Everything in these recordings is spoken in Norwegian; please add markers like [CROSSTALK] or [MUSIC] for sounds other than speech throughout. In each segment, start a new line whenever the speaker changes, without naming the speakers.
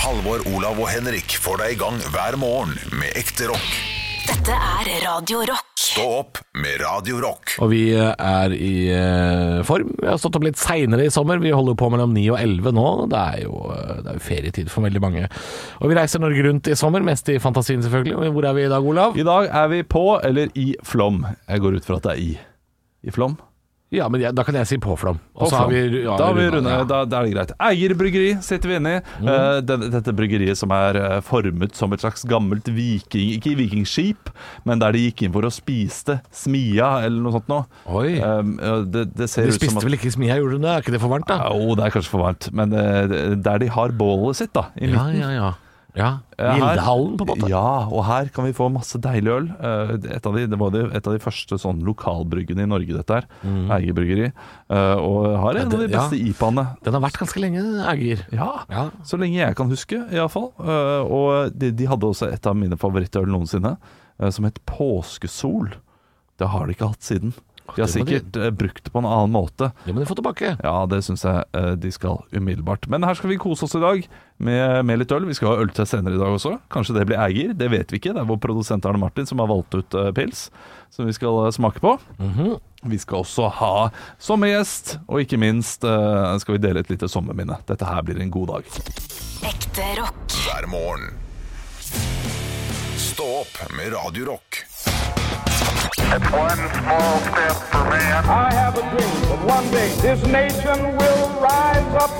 Halvor, Olav og Henrik får deg i gang hver morgen med ekte rock.
Dette er Radio Rock.
Stå opp med Radio Rock.
Og vi eh, er i eh, form. Vi har stått opp litt seinere i sommer. Vi holder på mellom 9 og 11 nå. Det er, jo, eh, det er jo ferietid for veldig mange. Og vi reiser Norge rundt i sommer, mest i fantasien selvfølgelig. Og Hvor er vi i dag, Olav?
I dag er vi på, eller i Flom. Jeg går ut fra at det er i. I Flom.
Ja, men jeg, da kan jeg si påflom. Og så har
På Flom.
vi, ja,
da har vi
rundet,
rundet,
ja. Mm.
da, da er det greit. Eier bryggeri sitter vi inne i. Eh, den, dette bryggeriet som er eh, formet som et slags gammelt viking... Ikke vikingskip, men der de gikk inn for å spiste smia, eller noe sånt noe.
Oi.
Eh, det, det ser
Du
ut som
spiste
at
vel ikke smia, gjorde du det? Er ikke det for varmt, da?
Jo, det er kanskje for varmt, men eh, der de har bålet sitt, da. I
Ja,
midten.
ja, ja. ja.
Eh, her-
Gildehallen, på en måte.
Ja, og her kan vi få masse deilig øl. Eh, Et av de, det var de, et av de første sånn lokalbryggene i Norge, dette her. Eiger bryggeri. Eh, Og har en
Mm. det-
av de beste IPA-ene.
Den har vært ganske lenge, Eger.
Ja.
Ja.
Så lenge jeg kan huske, iallfall. Eh, Og de, de hadde også et av mine favorittøl noensinne, eh, som het Påskesol. Det har de ikke hatt siden. De
det må
har
de-
sikkert eh, brukt det på en annen måte.
Det må du få tilbake.
Ja, det syns jeg eh, de skal umiddelbart. Men her skal vi kose oss i dag med, med litt øl. Vi skal ha øltest senere i dag også. Kanskje det blir Eiger, det vet vi ikke. Det er vår produsent Arne Martin som har valgt ut eh, pils som vi skal eh, smake på. Vi skal også ha sommergjest, og ikke minst eh, skal vi dele et lite sommerminne. Dette her blir en god dag.
Ekte rock.
Hver morgen. Stå opp med Radio Rock.
It's one small step for man.
I have a dream that one day this nation will rise up.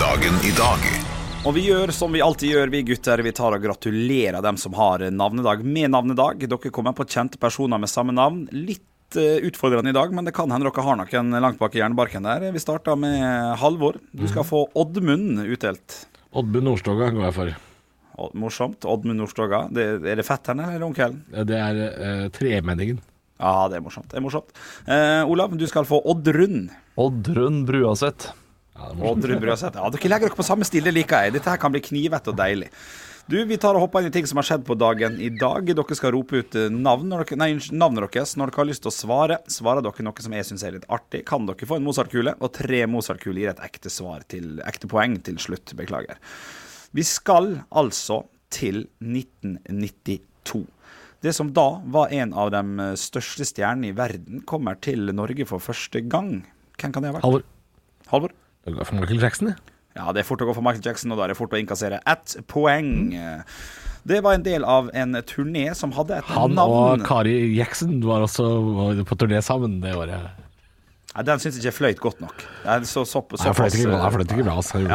Dagen i dag.
Og vi gjør som vi alltid gjør, vi gutter. Vi tar og gratulerer dem som har navnedag med navnedag. Dere kommer på kjente personer med samme navn. Litt eh, utfordrende i dag, men det kan hende dere har noen langt bak i jernbarken der. Vi starter med Halvor. Du skal få Oddmund utdelt.
Oddmund Nordstoga går jeg for.
Å, Morsomt. Oddmund Nordstoga. Det, er det fetteren eller onkelen?
Det er eh, tremenningen.
Ja, det er morsomt. Det er morsomt. Eh, Olav, du skal få Oddrun.
Oddrun Bruaseth.
Oddrun Brøseth. Ja, dere legger dere på samme stil, det liker jeg. Dette her kan bli knivete og deilig. Du, Vi tar og hopper inn i ting som har skjedd på dagen i dag. Dere skal rope ut eh, navn når dere, nei, unnskyld, navnet deres når dere har lyst til å svare. Svarer dere noe som jeg syns er litt artig, kan dere få en Mozart-kule. Og tre Mozart-kuler gir et ekte svar til ekte poeng til slutt. Beklager. Vi skal altså til 1992. Det som da var en av de største stjernene i verden, kommer til Norge for første gang. Hvem kan det ha vært?
Halvor.
Halvor?
Jeg går for Michael Jackson, jeg.
Ja, det er fort å gå for Michael Jackson, og da er det fort å innkassere ett poeng. Det var en del av en turné som hadde et
Han
navn
og Kari Jackson var også var på turné sammen det året.
Nei, Den syns ikke jeg fløyt godt nok. Det er Så, så, så,
Nei, fløyt ikke, han fløyt ikke bra, altså. Han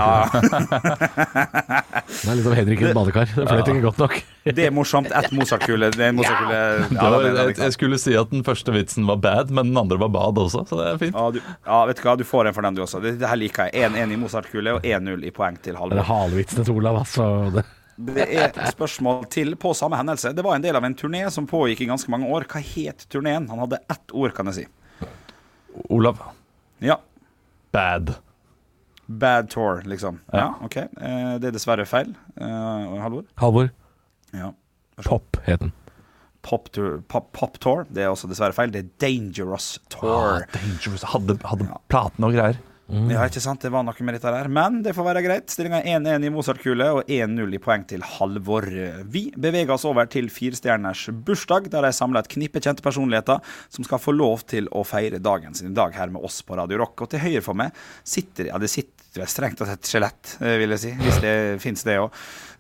gjorde ikke [LAUGHS] det. Det er litt som Henrik i et badekar. Det fløyt ikke godt nok.
eh, det er morsomt. Ett Mozart-kule. Det er en Mozart-kule ja,
Det var-
den er- den er
jeg,
ikke
jeg
sant.
skulle si at den første vitsen var bad, men den andre var bad også, så det er fint.
ja, du, ja, vet du hva, du får en for den, du også. Det, det her liker jeg. 1-1 i Mozart-kule og 1-0 i poeng til
Det er
Halvor.
halevitsene til Olav, altså. Det.
Det er et spørsmål til på samme hendelse. Det var en del av en turné som pågikk i ganske mange år. Hva het turneen? Han hadde ett ord, kan jeg si.
Olav.
Ja,
Bad.
Bad tour, liksom. Ja, ok. Eh, det er dessverre feil. Eh, Halvor?
Halvor.
Ja.
Pop het den.
Pop tour, pop, pop tour. Det er også dessverre feil. Det er Dangerous Tour.
Ah, Dangerous. Hadde, hadde platene og greier.
Mm.
Ja, ikke sant? Det var noe med dette der. Men det får være greit. Stillinga er 1-1 i Mozart-kule og 1-0 i poeng til Halvor. Vi beveger oss over til firestjerners bursdag, der de samler et knippe kjente personligheter som skal få lov til å feire dagen sin i dag her med oss på Radio Rock. Og til høyre for meg sitter Ja, det sitter vel strengt tatt et skjelett, eh, vil jeg si. Hvis det fins, det òg.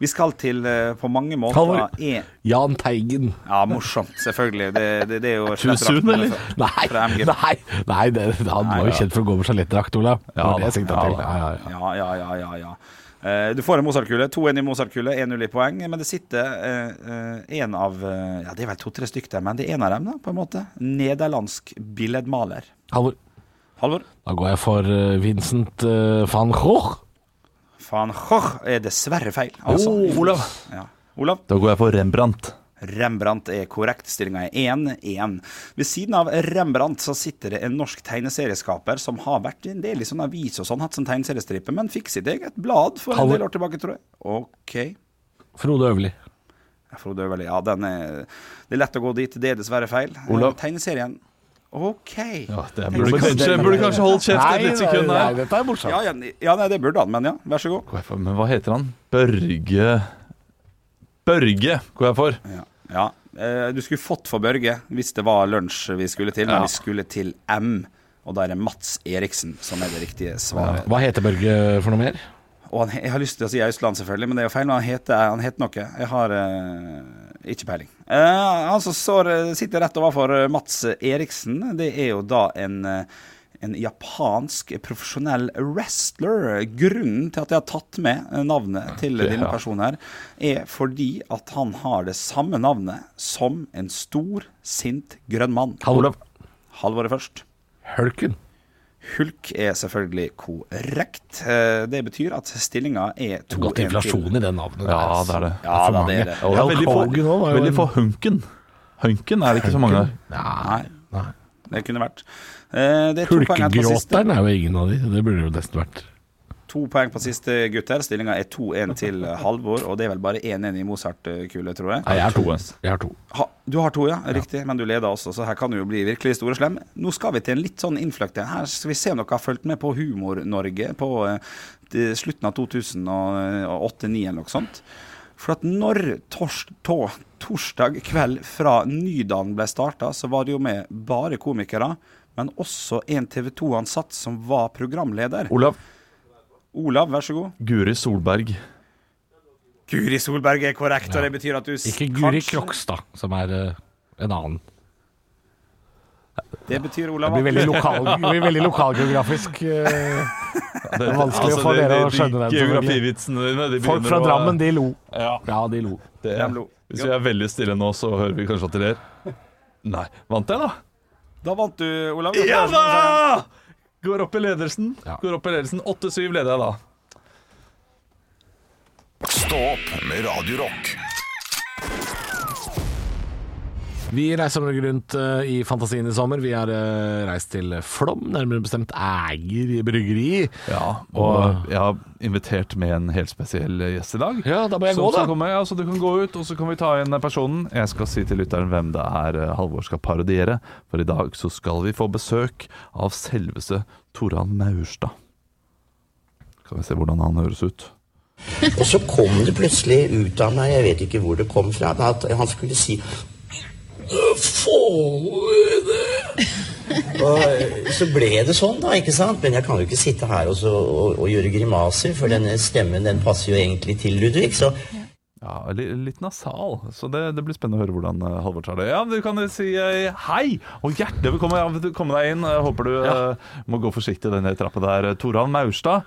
Vi skal til, eh, på mange måter
Halvor.
en-
Jahn Teigen. [LAUGHS]
Ja, morsomt, selvfølgelig. Det, det, det er jo
Too soon,
skjelettdrakten
eller?
fra-
Nei,
fra MG.
nei, nei det, han var jo kjent for å gå med skjelettdrakt, Olav. Det
Ja,
var det jeg sikta
da.
til. Ja, ja, ja.
Ja, ja, ja, ja, ja. Eh, du får en Mozart-kule. 2-1 i Mozart-kule, 1-0 i poeng. Men det sitter én av eh, Ja, det er vel to-tre stykk der, men det er en av dem, da, på en måte. Nederlandsk billedmaler.
Halvor.
Halvor?
Da går jeg for eh, Vincent eh, van Gogh.
Van Gogh er dessverre feil. Altså.
Oh, Olav.
Ja. Olav?
Da går jeg for Rembrandt.
Rembrandt er korrekt. Stillinga er 1-1. Ved siden av Rembrandt så sitter det en norsk tegneserieskaper som har vært i en del i sånn avis og sånn, hatt sånn tegneseriestripe, men fikk sitt eget blad for en
Halvor.
del år tilbake, tror jeg. OK.
Frode Øverli.
Ja, Frode Øverli, ja, den er, det er lett å gå dit. Det er dessverre feil.
Olav?
Eh, Tegneserien OK.
Ja, det
Tenk
burde
så-
kanskje, burde kanskje holdt kjeft et lite sekund
nei,
her.
dette er morsomt.
ja, ja, ja, nei, det burde han, men ja, vær så god.
Går jeg for- Men hva heter han? Børge Børge går jeg for.
Ja. ja. Eh, Du skulle fått for Børge hvis det var lunsj vi skulle til, men
Ja.
vi skulle til M. Og da er det Mats Eriksen som er det riktige svaret.
Hva heter Børge for noe mer?
Og han, he- jeg har lyst til å si Austland, selvfølgelig, men det er jo feil. Han heter, han heter noe. Jeg har eh, ikke peiling. Eh, han som står, eh, sitter rett overfor eh, Mats Eriksen, det er jo da en eh, en japansk profesjonell wrestler. Grunnen til at jeg har tatt med eh, navnet til
Ja.
denne personen, her, er fordi at han har det samme navnet som en stor, sint grønn mann.
Olav
Halvoret først.
Hølken.
Hulk er selvfølgelig korrekt. Eh, Det betyr at stillinga er 2-1
Godt inflasjon i det navnet. altså.
Ja, det er det.
Ja, da, det er det.
Ja, veldig få,
Hulk Hogan også var jo
veldig
en-
få hunken. Hunken er det ikke så mange av.
Nei,
Nei.
det kunne vært. Eh, Det er to poeng på siste.
Hulkegråteren er jo ingen av de. Det burde jo nesten vært.
To poeng på siste, gutter. Stillinga er 2-1 til Halvor, og det er vel bare 1-1 i Mozart-kule, tror jeg.
Nei, jeg har to. altså.
To.
Jeg har to.
Ha, du har to, ja. Riktig. Men du leder også, så her kan du jo bli virkelig store slem. Nå skal vi til en litt sånn innfløkt en. Her skal vi se om dere har fulgt med på Humor-Norge på eh, de- slutten av 2008-2009 eller noe sånt. For at når tors to torsdag kveld fra Nydalen ble starta, så var det jo med bare komikere, men også en TV 2-ansatt som var programleder.
Olav
Olav, vær så god.
Guri Solberg.
Guri Solberg er korrekt, og det betyr at du s-
Ikke Guri
kanskje-
Krokstad, som er eh, en annen.
Det betyr, Olav,
Det blir
at
veldig, lokal, det blir veldig lokalgeografisk. eh.
Det er
vanskelig å få
Altså, det-
dere å
det-
skjønne
de
den, selvfølgelig.
Geografivitsene dine de
Folk
begynner
fra
å-
Drammen, de lo.
Ja.
Ja, de lo.
Det,
De lo.
hvis vi er veldig stille nå, så hører vi kanskje at de ler. Nei. Vant jeg, da?
Da vant du, Olav.
Ja da! Går opp i ledelsen.
Ja.
Går opp i ledelsen. 8-7 leder jeg da.
Stå opp med Radio Rock.
Vi reiser Norge rundt eh, i fantasien i sommer. Vi har eh, reist til Flom, nærmere bestemt Æger bryggeri.
Ja, og jeg har invitert med en helt spesiell gjest i dag.
Ja, da må jeg
Som
gå, da.
skal komme, ja, så du kan gå ut, og så kan vi ta inn personen. Jeg skal si til lytteren hvem det er eh, Halvor skal parodiere, for i dag så skal vi få besøk av selveste Toran Maurstad. Kan vi se hvordan han høres ut.
Og så kom det plutselig ut av meg, jeg vet ikke hvor det kom fra, da, at han skulle si Faen! Og så ble det sånn, da. ikke sant? Men jeg kan jo ikke sitte her og, så, og, og gjøre grimaser, for denne stemmen den passer jo egentlig til Ludvig. Så
Ja, li- Litt nasal, så det, det blir spennende å høre hvordan eh, Halvor tar det. Ja, Du kan jo si eh, hei og hjertelig velkommen. Ja, vil du komme deg inn. Jeg håper du eh, må gå forsiktig denne trappa der. eh, Toran Maurstad.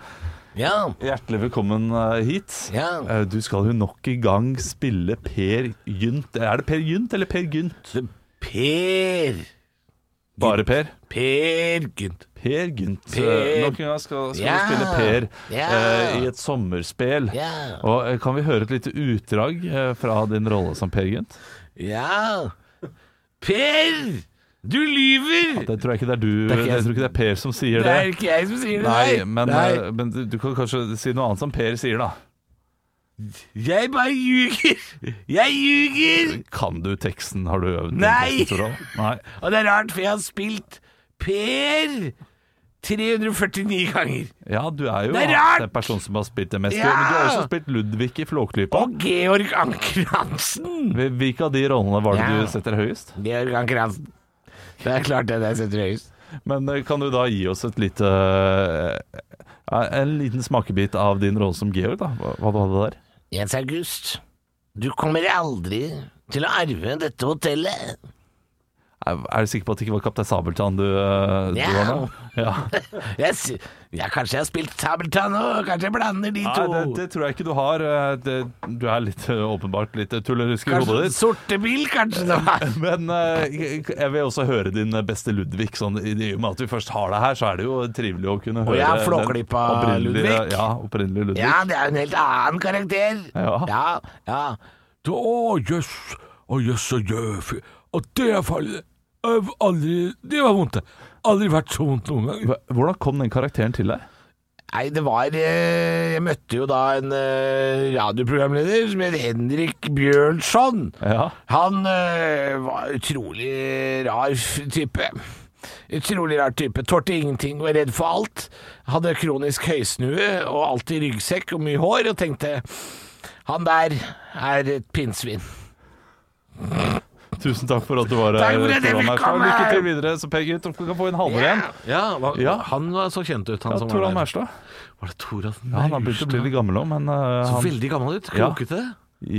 Ja,
Hjertelig velkommen eh, hit.
Ja.
Eh, Du skal jo nok i gang spille Per Gynt. Er det Per Gynt eller Per Gynt?
Per
Bare Per?
Per Gynt.
Per Gynt.
Per.
Eh, Nok en gang skal, skal
Ja.
du spille Per
Ja.
eh, i et sommerspel.
Ja.
Og eh, Kan vi høre et lite utdrag eh, fra din rolle som Per Gynt?
Ja Per! Du lyver!
Det tror jeg ikke det er du
Det er ikke jeg-
Jeg tror ikke det er Per som sier
Det
det.
er ikke jeg som sier det,
Nei, men,
Nei.
eh, men du, du kan kanskje si noe annet som Per sier, da.
Jeg bare ljuger! Jeg ljuger!
Kan du teksten? Har du øvd? den
Nei.
teksten, Torvald? Nei.
Og det er rart, for jeg har spilt Per 349 ganger.
Ja, du er jo
Det er rart!
den personen som har spilt det meste.
Ja!
Men du har også spilt Ludvig i Flåklypa.
Og Georg Anker Hansen!
Hvil- Hvilke av de rollene var det
Ja.
du setter høyest?
Georg Anker Hansen. Det er klart det jeg setter høyest.
Men eh, kan du da gi oss et lite eh, En liten smakebit av din rolle som Georg, da? Hva, hva du hadde der?
Jens August, du kommer aldri til å arve dette hotellet.
Er, er du sikker på at det ikke var Kaptein Sabeltann du, eh, du
Ja.
var nå? Ja.
Jeg, sy- ja, kanskje jeg har spilt Sabeltann nå, kanskje jeg blander de [LAUGHS]
Nei,
to.
det, det tror jeg ikke du har. eh, Det, du er litt eh, åpenbart litt tullerusk i hodet
kanskje
ditt.
Sortebil, kanskje det
[LAUGHS]
var.
Men eh, jeg vil også høre din beste Ludvig. Sånn, I i og med at vi først har deg her, så er det jo trivelig å kunne høre
jeg er
den
Flåklypa
opprinnelige-
Ludvig.
Ja, opprinnelig Ludvig.
Ja, det er en helt annen karakter.
Ja.
ja. ja. Du, å, jøss. Å, jøss og jøfy. Og det er farlig. Øv aldri Det var vondt, det. Aldri vært så vondt noen gang.
Hva- Hvordan kom den karakteren til deg?
Nei, det var eh, Jeg møtte jo da en eh, radioprogramleder som het Henrik Bjørnson.
Ja.
Han eh, var utrolig rar f- type. Utrolig rar type. Tålte ingenting og er redd for alt. Hadde kronisk høysnue og alltid ryggsekk og mye hår, og tenkte han der er et pinnsvin.
Tusen takk for at du var eh,
Takk
her.
for at jeg
Trond
fikk
Austad.
komme.
Lykke til videre. Så Peggy, tror du kan få en halvår igjen.
Ja, hva,
Ja.
han så kjent ut, han
Ja,
som
Tor
var der.
Merstad.
Var det Toralf
Ja, han har begynt å bli litt gammel òg, men eh,
Så
han,
veldig gammel ut.
Ja.
Krokete.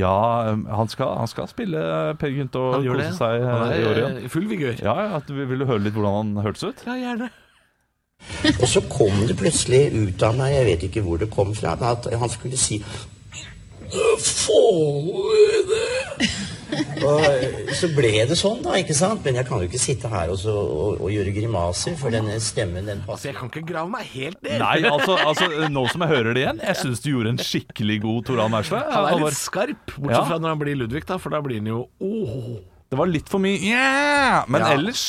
ja, eh, han, skal, han skal spille Per Gynt og
Han gjør det.
kose seg eh,
Han
i år
er
igjen.
eh, i full vigør.
Ja, ja, at, vil du høre litt hvordan han hørtes ut?
Ja, gjerne.
Og så kom det plutselig ut av meg, jeg vet ikke hvor det kom fra, men at han skulle si Og så ble det sånn, da, ikke sant? Men jeg kan jo ikke sitte her og, så, og, og gjøre grimaser, for denne stemmen, den
Altså,
passer
jeg kan ikke grave meg helt ned.
Nei, altså, altså nå som jeg hører det igjen, jeg syns du gjorde en skikkelig god Tor Arne Erstad.
Han er
Halvor.
litt skarp, bortsett
Ja.
fra når han blir Ludvig, da, for da blir han jo oh. åh.
Det var litt for mye yeah! Men
Ja.
ellers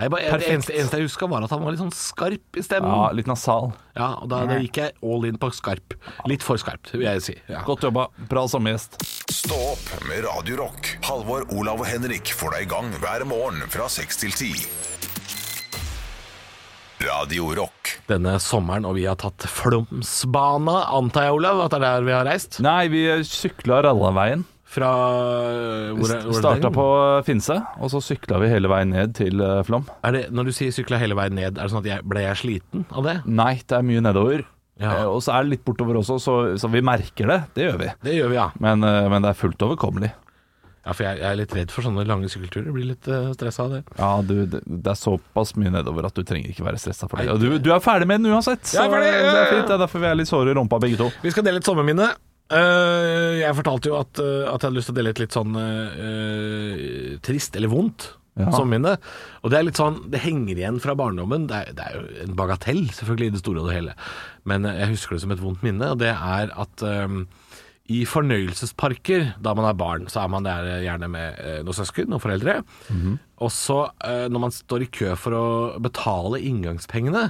Nei, bare, det
Perfekt.
eneste, eneste jeg huska, var at han var litt sånn skarp i stemmen.
Ja,
Ja,
litt nasal.
og da, da gikk jeg all in på skarp. Litt for skarpt, vil jeg si. Ja.
Godt jobba. Bra sommergjest.
Stå opp med Radio Rock. Halvor, Olav og Henrik får deg i gang hver morgen fra 6 til 10. Radio Rock.
Denne sommeren, og vi har tatt Flåmsbana, antar jeg, Olav, at det er der vi har reist?
Nei, vi sykla Rallarveien.
Fra øh, hvor, er- hvor er
Starta
det?
på eh, Finse, og så sykla vi hele veien ned til eh, Flåm.
er det, Når du sier sykla hele veien ned, er det sånn at jeg ble jeg sliten av det?
Nei, det er mye nedover.
Ja.
Eh, Og så er det litt bortover også, så, så vi merker det. Det gjør vi.
Det gjør vi, ja.
Men, eh, men det er fullt overkommelig.
ja for jeg, jeg er litt redd for sånne lange sykkelturer. Blir litt uh, stressa av det.
Ja, du, det, det er såpass mye nedover at du trenger ikke være stressa for det. Og du, du er ferdig med den uansett. Så,
Jeg er ferdig,
det
ja,
er
ja.
fint. Det er derfor vi er litt såre i rumpa begge to.
Vi skal dele et sommerminne. Eh, jeg fortalte jo at, eh, at jeg hadde lyst til å dele et litt sånn eh, eh, trist eller vondt
Ja.
sommerminne. Og det er litt sånn, det henger igjen fra barndommen. Det er, det er jo en bagatell, selvfølgelig, i det store og det hele. Men eh, jeg husker det som et vondt minne, og det er at eh, i fornøyelsesparker, da man er barn, så er man der gjerne med eh, noen søsken og foreldre.
Mhm.
Og så, eh, når man står i kø for å betale inngangspengene,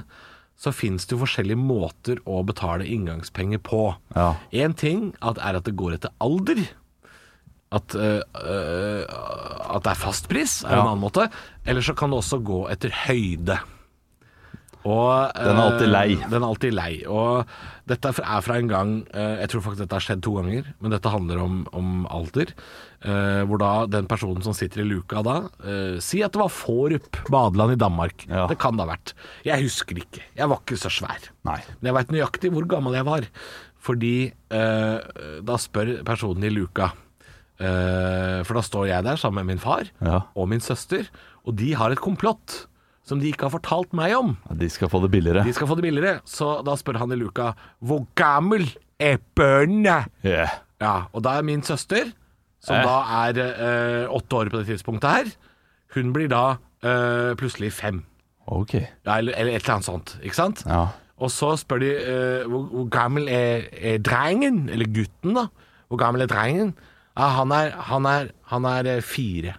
så fins det jo forskjellige måter å betale inngangspenger på.
Ja.
Én ting at, er at det går etter alder. At, eh, eh, at det er fastpris, er en annen måte. Eller så kan det også gå etter høyde. Og,
Den er alltid lei.
eh, Den er alltid lei. Og dette er fra- er fra en gang eh, Jeg tror faktisk dette har skjedd to ganger, men dette handler om, om alder. eh, Hvor da den personen som sitter i luka da eh, Si at det var Fårup badeland i Danmark.
Ja.
Det kan det ha vært. Jeg husker ikke. Jeg var ikke så svær.
Nei.
Men jeg veit nøyaktig hvor gammel jeg var. Fordi eh, da spør personen i luka eh, For da står jeg der sammen med min far
Ja.
og min søster, og de har et komplott som de ikke har fortalt meg om.
Ja, de skal få det billigere.
De skal få det billigere. Så da spør han i luka Hvor gammel er børnene?
Yeah.
Ja, og da er min søster, som
Eh.
da er eh, åtte år på det tidspunktet her, hun blir da eh, plutselig fem.
Ok.
Ja, eller, eller et eller annet sånt, ikke sant?
Ja.
Og så spør de eh, hvor, hvor gammel er, er drengen, eller gutten da? Hvor gammel er drengen? Ja, han er, han er, han er eh, fire.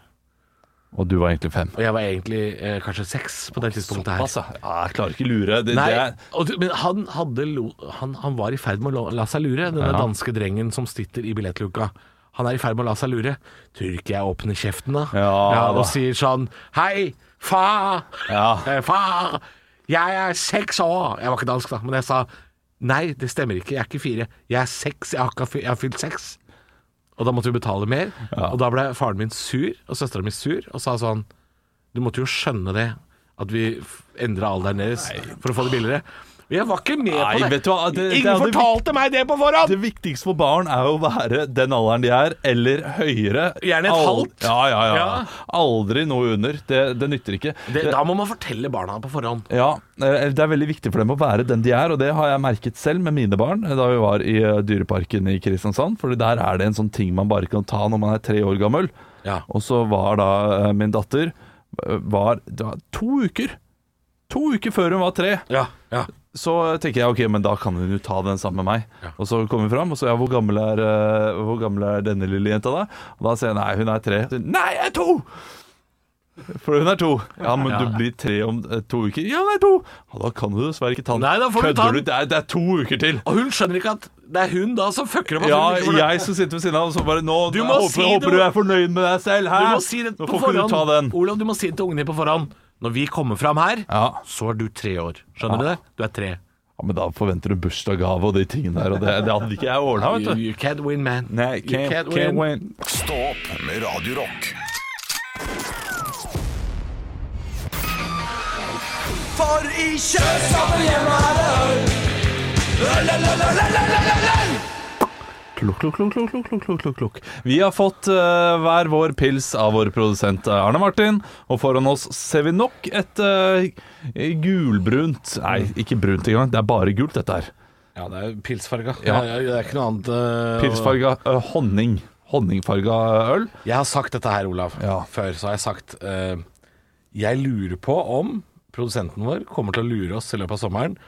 Og du var egentlig fem.
Og jeg var egentlig eh, kanskje seks på det tidspunktet her.
Såpass, ja. Ja, Jeg klarer ikke lure. Det,
Nei,
det er,
og, du- men han, hadde lo, han, han var i ferd med å la- la seg lure, denne
Ja.
danske drengen som sitter i billettluka. Han er i ferd med å la seg lure. Tror ikke jeg åpner kjeften da.
Ja, da.
og sier sånn Hei, far!
Ja.
Eh, far! Jeg er seks år! Jeg var ikke dansk, da, men jeg sa Nei, det stemmer ikke. Jeg er ikke fire. Jeg er seks. Jeg har, ikke, jeg har fylt seks. Og da måtte vi betale mer. Og da ble faren min sur, og søstera mi sur, og sa sånn Du måtte jo skjønne det, at vi f- endra alderen deres for å få det billigere. Og jeg var ikke med
Nei,
på det.
vet du hva, det- det
Ingen
er det
fortalte meg det på forhånd!
det viktigste for barn er jo å være den alderen de er, eller høyere.
Gjerne et
Al-
halvt.
Ja, ja, ja.
Ja.
Aldri noe under. Det, det nytter ikke.
det, da må man fortelle barna på forhånd.
Ja, eh, Det er veldig viktig for dem å være den de er, og det har jeg merket selv med mine barn eh, da vi var i eh, Dyreparken i Kristiansand. For der er det en sånn ting man bare kan ta når man er tre år gammel.
Ja.
Og så var da eh, min datter eh, var, det var to uker. To uker før hun var tre.
Ja, ja.
Så tenker jeg ok, men da kan hun jo ta den sammen med meg. Og så kommer vi fram, og så ja, hvor gammel er, eh, hvor gammel er denne lille jenta da? Og da sier jeg nei, hun er tre. Så, Nei, jeg er to! For hun er to. Ja, men du blir tre om eh, to uker. Ja, hun er to! Og da kan du dessverre ikke ta den.
Nei, da får du ta
Kødder
den.
Det er, det er to uker til.
Og hun skjønner ikke at det er hun da som fucker opp. at hun
Ja,
ikke får det.
jeg som sitter ved siden av, og så bare nå
Du
jeg
må
håper,
si
håper
det-
du er fornøyd med deg selv. Hæ?
Du må si det
nå
på
får ikke
forhånd.
du ta den.
Olav, du må si det til ungene dine på forhånd. Når vi kommer fram her,
Ja.
så er du tre år. Skjønner du det? Du er tre.
Ja, men da forventer du bursdagsgave og de tingene der, og det, det hadde ikke jeg ordna,
You,
vet du.
you can't win, man.
Nei,
you can't, win.
Stå opp med Radio Rock.
Klukk, klukk, klukk, klukk, klukk, klukk, klukk, klukk, klukk. Vi har fått eh, hver vår pils av vår produsent eh, Arne Martin, og foran oss ser vi nok et eh, gulbrunt Nei, ikke brunt engang, det er bare gult, dette her.
Ja, det er pilsfarga.
Ja.
Det, er, det er ikke noe annet. eh,
Pilsfarga eh, honning. Honningfarga øl.
Jeg har sagt dette her, Olav.
Ja.
Før så har jeg sagt eh, Jeg lurer på om produsenten vår kommer til å lure oss i løpet av sommeren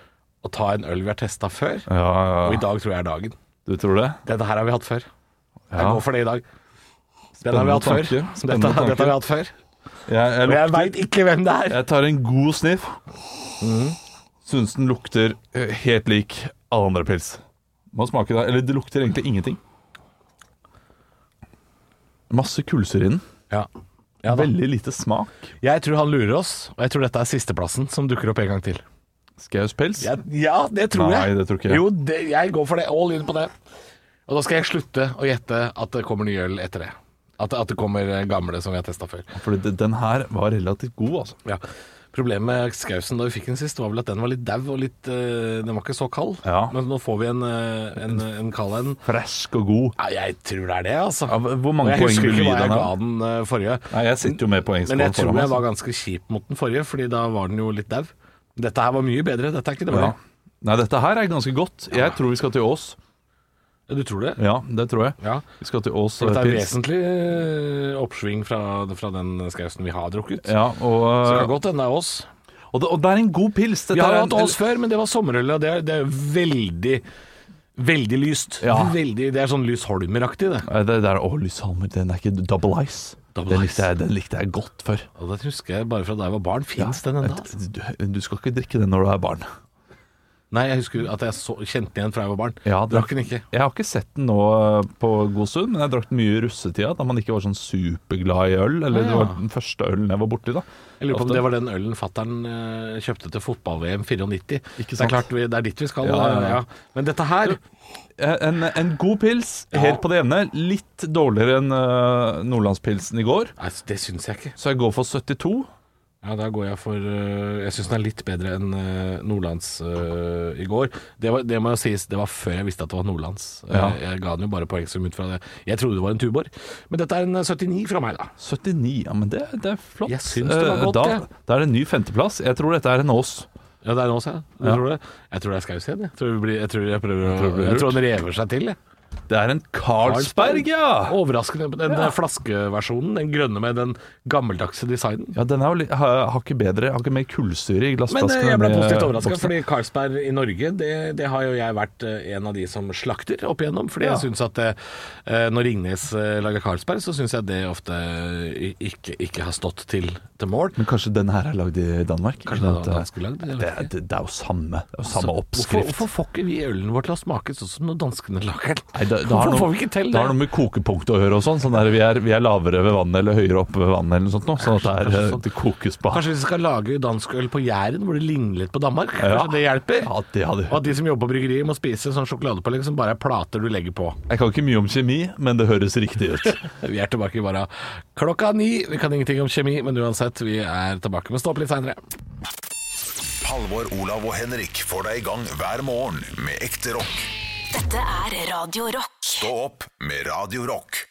og ta en øl vi har testa før.
Ja,
Og
ja,
i dag tror jeg er dagen.
Du tror det?
Dette her har vi hatt før. Jeg
Ja.
går for det i dag. Den har vi hatt før.
tanke.
Dette,
Spennende tanke.
dette har vi hatt før.
Jeg, jeg,
Og jeg
lukter,
veit ikke hvem det er.
jeg tar en god sniff. Mhm. Syns den lukter eh, helt lik alle andre pils. Må smake det. Eller det lukter egentlig ingenting. Masse kullsyre i den.
Ja. Ja, da.
Veldig lite smak.
Jeg tror han lurer oss, og jeg tror dette er sisteplassen som dukker opp en gang til.
Skauspels?
Ja, ja det tror
Nei,
jeg.
det tror ikke jeg.
Jo, det, jeg går for det. All in på det. Og da skal jeg slutte å gjette at det kommer ny øl etter det. At, at det kommer eh, gamle som vi har testa før.
Fordi det- den her var relativt god, altså.
Ja. Problemet med skausen da vi fikk den sist, var vel at den var litt dau og litt eh, Den var ikke så kald.
Ja.
Men nå får vi en, eh, en, en kald en.
Fresk og god.
Ja, jeg tror det er det, altså.
Ja, hvor mange
Og jeg
poeng
husker
vil du
ikke
gi
hva jeg
den,
ga
da?
den eh, forrige.
Nei, jeg sitter jo med poengskål
Men jeg
foran
tror
meg,
jeg
altså.
var ganske kjip mot den forrige, Fordi da var den jo litt dau. Dette her var mye bedre. Dette er ikke det
Ja.
bare.
Nei, dette her er ganske godt. Jeg tror vi skal til Ås.
Du tror det?
Ja, det tror jeg.
Ja.
Vi skal til Ås
Så dette er
eh, pils.
vesentlig eh, oppsving fra, fra den skausen vi har drukket.
Ja,
Så det
og,
kan godt hende det er oss.
og, det, og det er en god pils. Dette
Vi har
er
jo
en-
hatt oss før, men det var sommerøl, og det er, det er veldig Veldig lyst.
Ja.
Veldig, det er sånn Lys Holmer-aktig, det.
Nei, Det der, å, Lysholmer, den er ikke Double Ice.
Double
den,
Ice.
likte jeg, den likte jeg godt før.
Og det husker jeg bare fra da jeg var barn. Fins den ennå? altså?
Et- Du, du skal ikke drikke den når du er barn.
Nei, jeg husker at jeg så, kjente den igjen fra jeg var barn.
Ja, det-
Drakk den ikke.
Jeg har ikke sett den nå eh, på god stund, men jeg drakk den mye i russetida, da man ikke var sånn superglad i øl. Eller det
Ah, ja.
var den første ølen jeg var borti, da.
Jeg lurer på om
Ofte.
det var den ølen fattern eh, kjøpte til fotball-VM 94. Det er
Ikke sant.
klart vi, det er dit vi skal.
Ja, ja,
eh,
ja.
Men dette her
Eh, En, en god pils, helt på det jevne. Litt dårligere enn eh, nordlandspilsen i går,
Nei, det syns jeg ikke.
så jeg går for 72.
Ja, da går jeg for øh, Jeg syns den er litt bedre enn øh, Nordlands øh, i går. Det, var, det må jo sies, det var før jeg visste at det var Nordlands. Eh,
Ja.
Jeg, jeg ga den jo bare poengsum ut fra det. Jeg trodde det var en Tuborg, men dette er en øh, 79 fra meg, da.
79, ja, men det, det er flott.
Jeg syns det var
Eh,
godt, jeg.
da, da er det en ny femteplass. Jeg tror dette er en Ås.
Ja, det er nå, sa jeg. Du Tror det? Jeg tror det er Skaus igjen, jeg. Tror vi blir, jeg, tror jeg, prøver, å-
tror det blir
jeg tror den rever seg til, jeg.
Det er en Carlsberg, ja!
Overraskende. Den øh, flaskeversjonen, den grønne med den gammeldagse designen.
Ja, Den er jo litt, har, har ikke bedre, har ikke mer kullsyre i
Men øh,
glassflaskene.
jeg ble
enn i
positivt overraska,
boksen.
fordi Carlsberg i Norge, det, det har jo jeg vært øh, en av de som slakter opp igjennom. Fordi
Ja.
jeg syns at øh, når Ringnes øh, lager Carlsberg, så syns jeg det ofte øh, ikke, ikke har stått til, til mål.
Men kanskje den her er lagd i Danmark?
Kanskje den
At,
er
eh,
dansk lagd, jeg
Det,
vet
er- det, det er jo samme, det er jo samme
Så
oppskrift.
Hvorfor, hvorfor får ikke vi ølen vår til å smake sånn som når danskene lager den?
Nei, det, det, har
hvorfor får vi
noe,
ikke til
det har noe
det?
med kokepunkt å gjøre og sånn. sånn der, vi, er, vi er lavere ved vannet eller høyere oppe ved vannet eller noe sånt nå. Sånn at det, er,
Kanskje
eh,
sånn.
det kokes på.
Kanskje vi skal lage dansk øl på Jæren, hvor det ligner litt på Danmark? Kanskje
Ja.
det hjelper?
Ja, det hadde
Og at de som jobber på bryggeriet, må spise sånn sjokoladepålegg som bare er plater du legger på.
Jeg kan ikke mye om kjemi, men det høres riktig ut.
Vi er tilbake i morgen klokka ni. Vi kan ingenting om kjemi, men uansett, vi er tilbake med Stå opp litt seinere.
Halvor, Olav og Henrik får deg i gang hver morgen med ekte rock.
Dette er Radio Rock.
Stå opp med Radio Rock.